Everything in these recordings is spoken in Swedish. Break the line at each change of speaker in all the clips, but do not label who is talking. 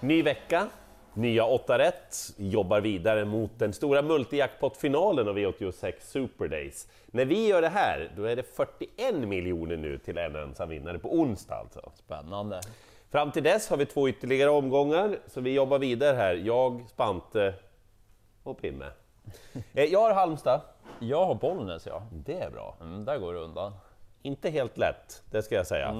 Ny vecka, nya 8 rätt, jobbar vidare mot den stora multijackpot-finalen av E V86 Super Days. När vi gör det här, då är det 41 miljoner nu till en ensam vinnare på onsdag alltså.
Spännande.
Fram till dess har vi två ytterligare omgångar, så vi jobbar vidare här. Jag, Spante och Pimme. Eh, Jag har Halmstad.
Jag har Bollnäs ja.
Det är bra.
Mm, där går det undan.
Inte helt lätt, det ska jag säga.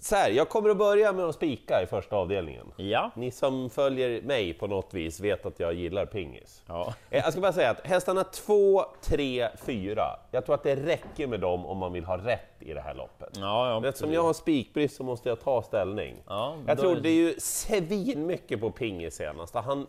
Så här, jag kommer att börja med att spika i första avdelningen.
Ja.
Ni som följer mig på något vis vet att jag gillar pingis.
Ja.
Eh, Jag ska bara säga att hästarna 2, 3, 4, jag tror att det räcker med dem om man vill ha rätt i det här loppet.
Ja, ja,
Eftersom jag har spikbrist så måste jag ta ställning.
Ja,
jag
då-
tror det är ju svinmycket mycket på pingis senast. och Han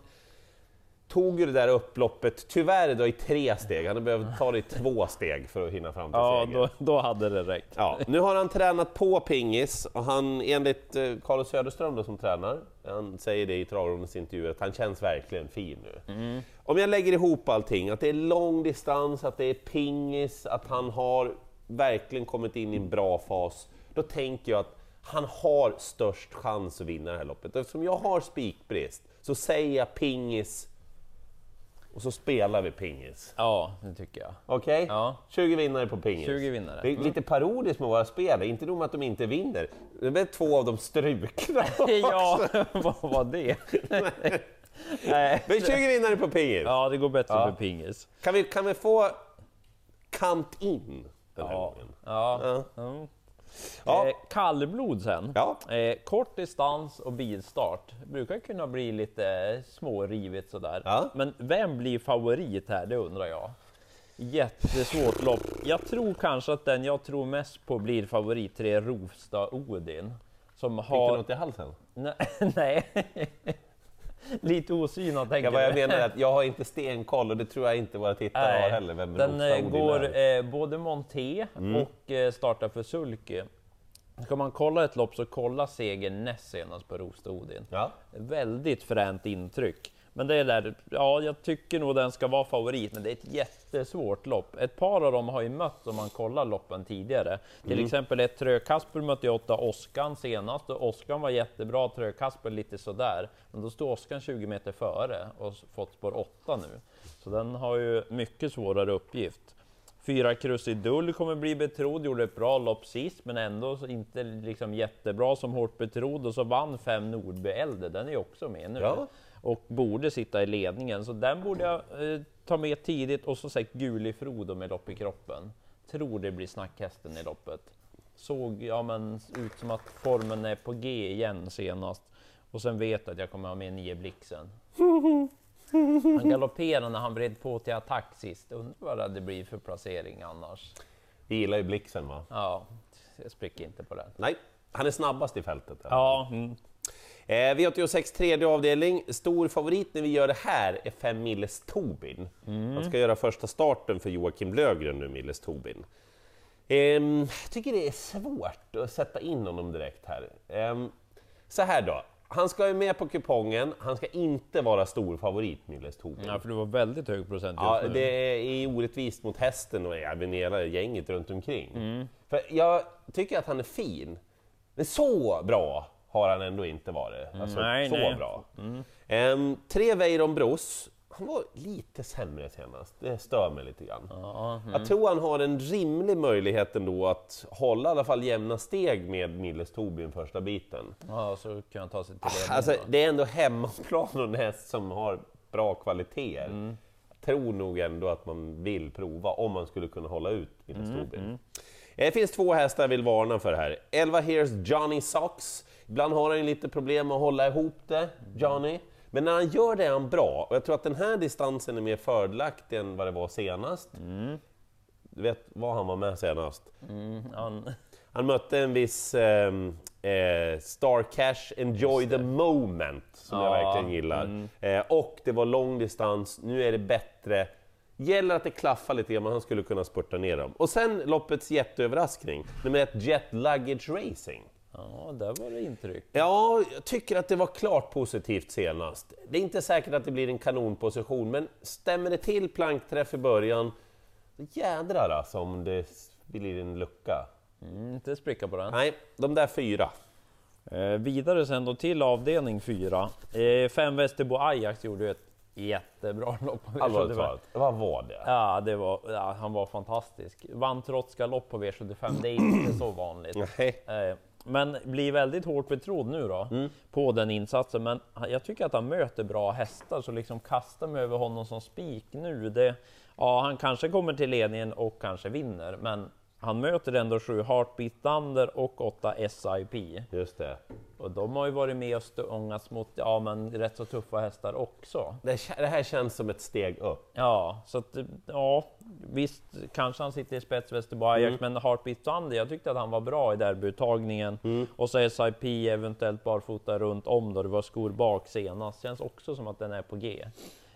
tog ju det där upploppet, tyvärr då i tre steg, han hade behövt ta det i två steg för att hinna fram till
ja
seger.
då, då hade det räckt.
Ja, nu har han tränat på pingis och han, enligt eh, Carlos Söderström då, som tränar, han säger det i travrummets intervju, att han känns verkligen fin nu. Om jag lägger ihop allting, att det är lång distans, att det är pingis, att han har verkligen kommit in i en bra fas, då tänker jag att han har störst chans att vinna det här loppet. Eftersom jag har spikbrist så säger jag pingis och så spelar vi pingis.
Ja, det tycker jag.
Okej?
Ja.
20 vinnare på pingis.
20 vinnare. Mm.
Det är lite parodiskt med våra spel, inte nog med att de inte vinner, det är väl två av dem strukna
Ja, vad var det? Nej.
Men 20 vinnare på pingis!
Ja, det går bättre
Ja.
för pingis.
Kan, vi, kan vi få kant in den här
Ja.
gången?
Ja. Mm.
Ja.
Eh, kallblod sen.
Ja.
Eh, kort distans och bilstart. Brukar kunna bli lite smårivigt sådär.
Ja.
Men vem blir favorit här? Det undrar jag. Jättesvårt lopp. Jag tror kanske att den jag tror mest på blir favorit 3, Rovsta Odin. Som
Fick du
har...
något i halsen?
Nej. nej. Lite osynad tänker
Ja, vad jag menar är att jag har inte stenkoll och det tror jag inte våra tittare har heller, vem
den
Rosa
eh,
Odin
går
är. Mm.
eh, både monté och eh, startar för sulky. Ska man kolla ett lopp så kolla segern näst senast på Rosta Odin.
Ja.
Väldigt fränt intryck. Men det är där, ja jag tycker nog den ska vara favorit, men det är ett jättesvårt lopp. Ett par av dem har ju mötts om man kollar loppen tidigare. Till exempel ett Trö-Kasper mötte ju åtta Oskan senast och Oskan var jättebra, Trö-Kasper lite sådär. Men då står Oskan 20 meter före och s- fått spår 8 nu. Så den har ju mycket svårare uppgift. Fyra Krusidull kommer bli betrodd, gjorde ett bra lopp sist men ändå så inte liksom jättebra som hårt betrodd och så vann fem Nordby Elde, den är ju också med nu.
Ja.
Och borde sitta i ledningen, så den borde jag eh, ta med tidigt och så sagt Guli Frodo med lopp i kroppen. Tror det blir snackhästen i loppet. Såg ja, men, ut som att formen är på G igen senast. Och sen vet jag att jag kommer ha med nio Blixen. Han galopperade när han vred på till attack sist. Undrar vad det hade blivit för placering annars.
Vi gillar ju Blixen va?
Ja, jag spricker inte på den.
Nej, han är snabbast i fältet.
Ja, mm.
Eh, V86 tredje avdelning, stor favorit när vi gör det här är 5 Milles Tobin. Han ska göra första starten för Joakim Lögren nu, Milles Tobin. Ehm, jag tycker det är svårt att sätta in honom direkt här. Ehm, så här då, han ska ju med på kupongen, han ska inte vara stor favorit Milles Tobin.
ja, för du var väldigt hög procent just
Ja,
nu.
det är orättvist mot hästen och även hela gänget runt omkring.
Mm.
För jag tycker att han är fin, men så bra har han ändå inte varit. Alltså,
Mm, Nej,
så
nej. Mm.
bra. Ehm, tre Weiron Bros, han var lite sämre senast, det stör mig lite grann.
mm.
Jag tror han har en rimlig möjlighet ändå att hålla i alla fall jämna steg med Milles Tobin första biten.
Ja, så kan han ta sig till ledningen.
Alltså,
då.
det är ändå hemmaplan och en häst som har bra kvaliteter. Jag tror nog ändå att man vill prova om man skulle kunna hålla ut Ville Storby. Eh, Det finns två hästar jag vill varna för här. 11 Hears Johnny Socks. Ibland har han ju lite problem med att hålla ihop det, Johnny. Men när han gör det är han bra och jag tror att den här distansen är mer fördelaktig än vad det var senast. Du vet vad han var med senast?
Han,
Han mötte en viss ehm, eh, Star Cash Enjoy the Moment som jag
Ja,
verkligen gillar. Eh, och det var lång distans, nu är det bättre. Gäller att det klaffar lite grann, men han skulle kunna spurta ner dem. Och sen loppets jätteöverraskning, nummer ett Jet Luggage Racing.
ja, där var det intryck.
Ja, jag tycker att det var klart positivt senast. Det är inte säkert att det blir en kanonposition, men stämmer det till plankträff i början, då jädrar alltså om det blir en lucka.
Mm, inte spricka på den.
Nej, de där fyra.
Eh, vidare sen då till avdelning 4. Eh, fem Västerbo Ajax gjorde ju ett jättebra lopp.
Allvarligt talat, vad var det?
Ja, det var, ja, han var fantastisk. Vann trots galopp på V75, det är inte så vanligt.
Nej.
Eh, Men blir väldigt hårt betrodd nu då, på den insatsen. Men han- jag tycker att han möter bra hästar, så liksom kasta mig över honom som spik nu. Det, ja, han kanske kommer till ledningen och kanske vinner, men han möter ändå sju Heartbeat Thunder och åtta SIP.
Just det.
Och de har ju varit med och stångats mot ja, men rätt så tuffa hästar också.
Det, kä- det här känns som ett steg upp.
Ja, så att, eh, ja, visst kanske han sitter i spets Västerbo Ajax, men Heartbeat Thunder, jag tyckte att han var bra i derbyuttagningen. Och så SIP eventuellt barfota runt om då, det var skor bak senast. Känns också som att den är på G.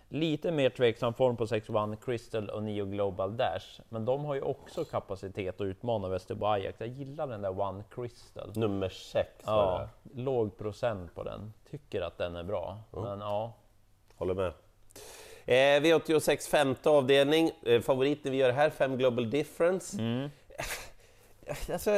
Lite mer tveksam form på 6 One Crystal och 9 Global Dash, men de har ju också kapacitet att utmana Västerbo Ajax. Jag gillar den där One Crystal.
Nummer sex var
Ja,
det.
låg procent på den. Tycker att den är bra, men ja.
Håller med. Eh, V86 femte avdelning. Eh, favoriten vi gör här, 5 Global Difference. Alltså,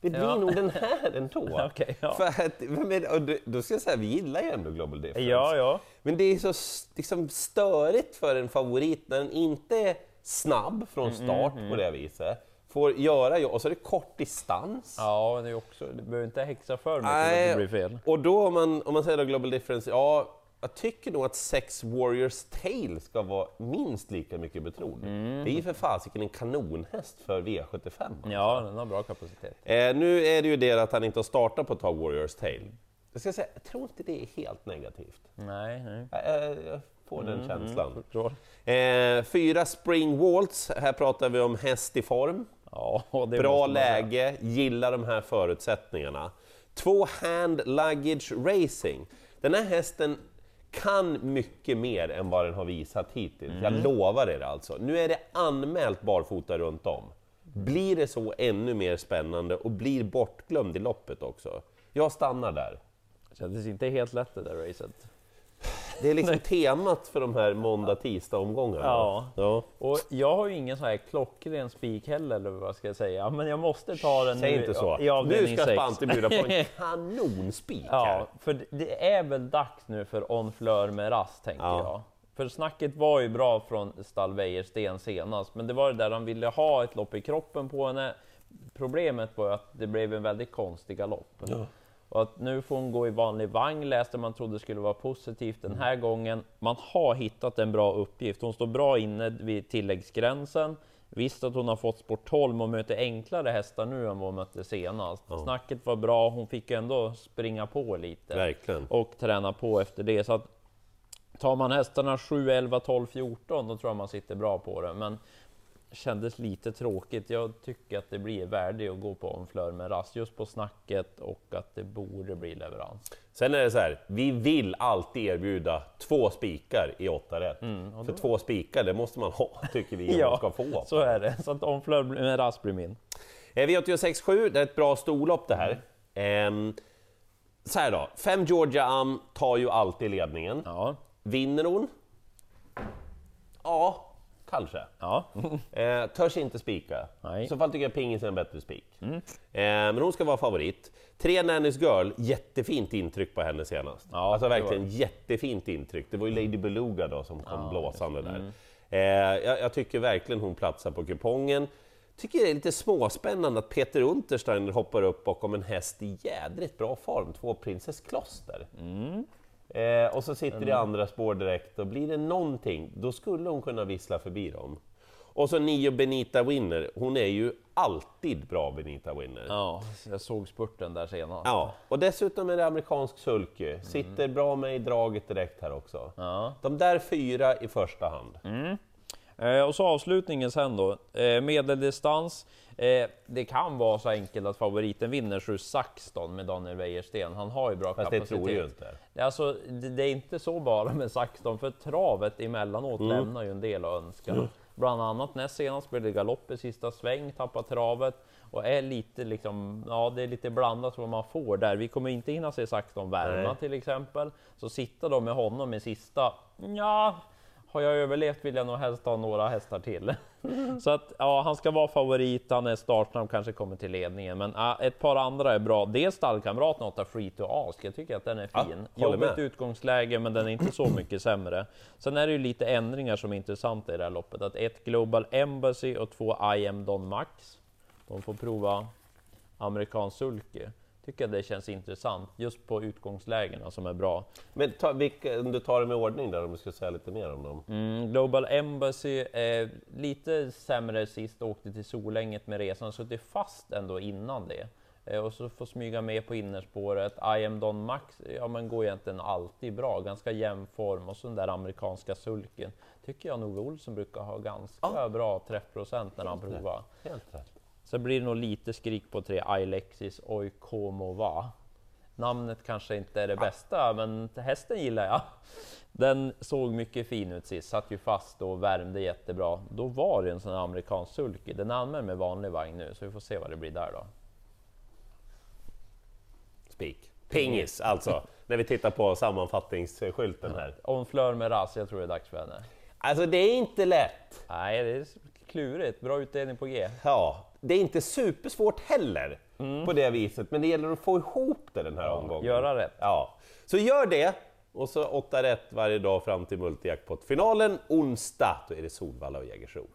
det blir
Ja.
nog den här ändå.
Okej, ja.
För att, men, och du- då ska jag säga, vi gillar ju ändå Global Difference.
Ja, ja.
Men det är så s- liksom, störigt för en favorit när den inte är snabb från start på det viset. Får göra jobb, och så är det kort distans.
Ja, men det är också, du behöver inte häxa för mycket så att
Nej,
det blir fel.
Och då om man, om man säger då Global Difference, ja, jag tycker nog att Sex Warriors Tail ska vara minst lika mycket betrodd.
Mm.
Det är ju för fasiken en kanonhäst för V75.
Ja, den har bra kapacitet.
Eh, nu är det ju det att han inte har startat på ett tag, Warriors Tail. Jag ska säga, jag tror inte det är helt negativt.
Nej, nej.
Jag, jag, jag får den
Mm.
känslan.
Förstår.
Eh, fyra Spring Waltz, här pratar vi om häst i form.
Ja, det måste
Bra
man säga.
läge, gillar de här förutsättningarna. Två Hand Luggage Racing. Den här hästen kan mycket mer än vad den har visat hittills. Jag
Mm.
lovar er alltså. Nu är det anmält barfota runt om. Blir det så ännu mer spännande och blir bortglömd i loppet också. Jag stannar där.
Kändes inte helt lätt det där racet.
Det är liksom temat för de här måndag-tisdag-omgångarna.
Ja.
Ja.
Och jag har ju ingen sån här klockren spik heller, eller vad ska jag säga. Men jag måste ta den
Säg
nu
inte
i-
så.
i
Nu
avdelning
ska
6.
Spante bjuda på en kanonspik här.
Ja, för det- det är väl dags nu för On Fleur med rast, tänker
Ja.
jag. För snacket var ju bra från stall Wäjersten senast, men det var det där han ville ha ett lopp i kroppen på henne. Problemet var ju att det blev en väldigt konstig galopp. Och att nu får hon gå i vanlig vagn läste man trodde skulle vara positivt den här gången. Man har hittat en bra uppgift. Hon står bra inne vid tilläggsgränsen. Visst att hon har fått spår 12 och möter enklare hästar nu än vad hon mötte senast. Snacket var bra, hon fick ju ändå springa på lite
Verkligen.
och träna på efter det. Så att tar man hästarna 7, 11, 12, 14 då tror jag man sitter bra på det. Men kändes lite tråkigt. Jag tycker att det blir värde att gå på en flör med rast just på snacket och att det borde bli leverans.
Sen är det så här, vi vill alltid erbjuda två spikar i åtta rätt. För två spikar, det måste man ha, tycker vi, om man ska få.
så är det. Så att om flör med rast blir min.
Eh, V86.7, det är ett bra storlopp det här. Ehm, så här då, fem Georgia Am tar ju alltid ledningen.
Ja,
Vinner hon? Ja, kanske.
ja.
Eh, törs inte spika.
Nej. Mm.
I så fall tycker jag pingis är en bättre spik. Eh, men hon ska vara favorit. Tre Nannys Girl, jättefint intryck på henne senast.
Ja,
alltså
det Mm. var
verkligen jättefint intryck. Det var ju Lady Beluga då som kom blåsande där.
mm.
Eh, jag, jag tycker verkligen hon platsar på kupongen. Tycker det är lite småspännande att Peter Untersteiner hoppar upp bakom en häst i jädrigt bra form, två Princess Kloster. Eh, och så sitter
Mm.
det i andra spår direkt och blir det någonting, då skulle hon kunna vissla förbi dem. Och så nio Benita Winner, hon är ju alltid bra Benita Winner. Ja.
ja, jag såg spurten där senast.
och dessutom är det amerikansk sulky, sitter
Mm.
bra med i draget direkt här också. De där fyra i första hand.
Mm. Eh, och så avslutningen sen då. Eh, medeldistans. Eh, det kan vara så enkelt att favoriten vinner 7 Saxton med Daniel Wäjersten. Han har ju bra
Fast det
kapacitet.
tror jag ju inte.
Det är Alltså, det, det är inte så bara med Saxton, för travet emellanåt lämnar ju en del att önska. Bland annat näst senast blev det galopp i sista sväng, tappar travet och är lite liksom, ja det är lite blandat vad man får där. Vi kommer inte hinna se Saxton värma
Nej.
till exempel. Så sitter de med honom i sista, ja har jag överlevt vill jag nog helst ha några hästar till. Så att ja, han ska vara favorit, han är startsnabb, kanske kommer till ledningen. Men ah, ett par andra är bra. Dels stallkamraten 8 Free to Ask, jag tycker att den är
Ja,
fin.
håller
Jobbigt
med.
utgångsläge, men den är inte så mycket sämre. Sen är det ju lite ändringar som är intressanta i det här loppet. Att ett Global Embassy och två I am Don Max. De får prova amerikansk sulke. Tycker jag det känns intressant just på utgångslägena som är bra.
Men ta, vilka, om du tar dem i ordning där, om du ska säga lite mer om dem.
Mm, Global Embassy eh, lite sämre sist, åkte till Solänget med resan, suttit fast ändå innan det. Eh, och så får smyga med på innerspåret. I am Don Max, ja men går egentligen alltid bra, ganska jämn form. Och så den där amerikanska sulken, tycker jag nog Olsson brukar ha ganska bra träffprocent när han provar.
Helt rätt.
Sen blir det nog lite skrik på tre, Ilexis Oikomova. Namnet kanske inte är det bästa, men hästen gillar jag. Den såg mycket fin ut sist, satt ju fast och värmde jättebra. Då var det en sån här amerikansk sulky. Den är använd med vanlig vagn nu, så vi får se vad det blir där då.
Spik. Pingis alltså, när vi tittar på sammanfattningsskylten här.
Om Fleur med ras, jag tror det är dags för henne.
Alltså det är inte lätt.
Nej, det är klurigt. Bra utdelning på G.
Ja, det är inte supersvårt heller på det viset, men det gäller att få ihop det den här omgången.
göra rätt.
Ja. Så gör det, och så åtta rätt varje dag fram till multijackpot-finalen onsdag. Då är det Solvalla och Jägersro.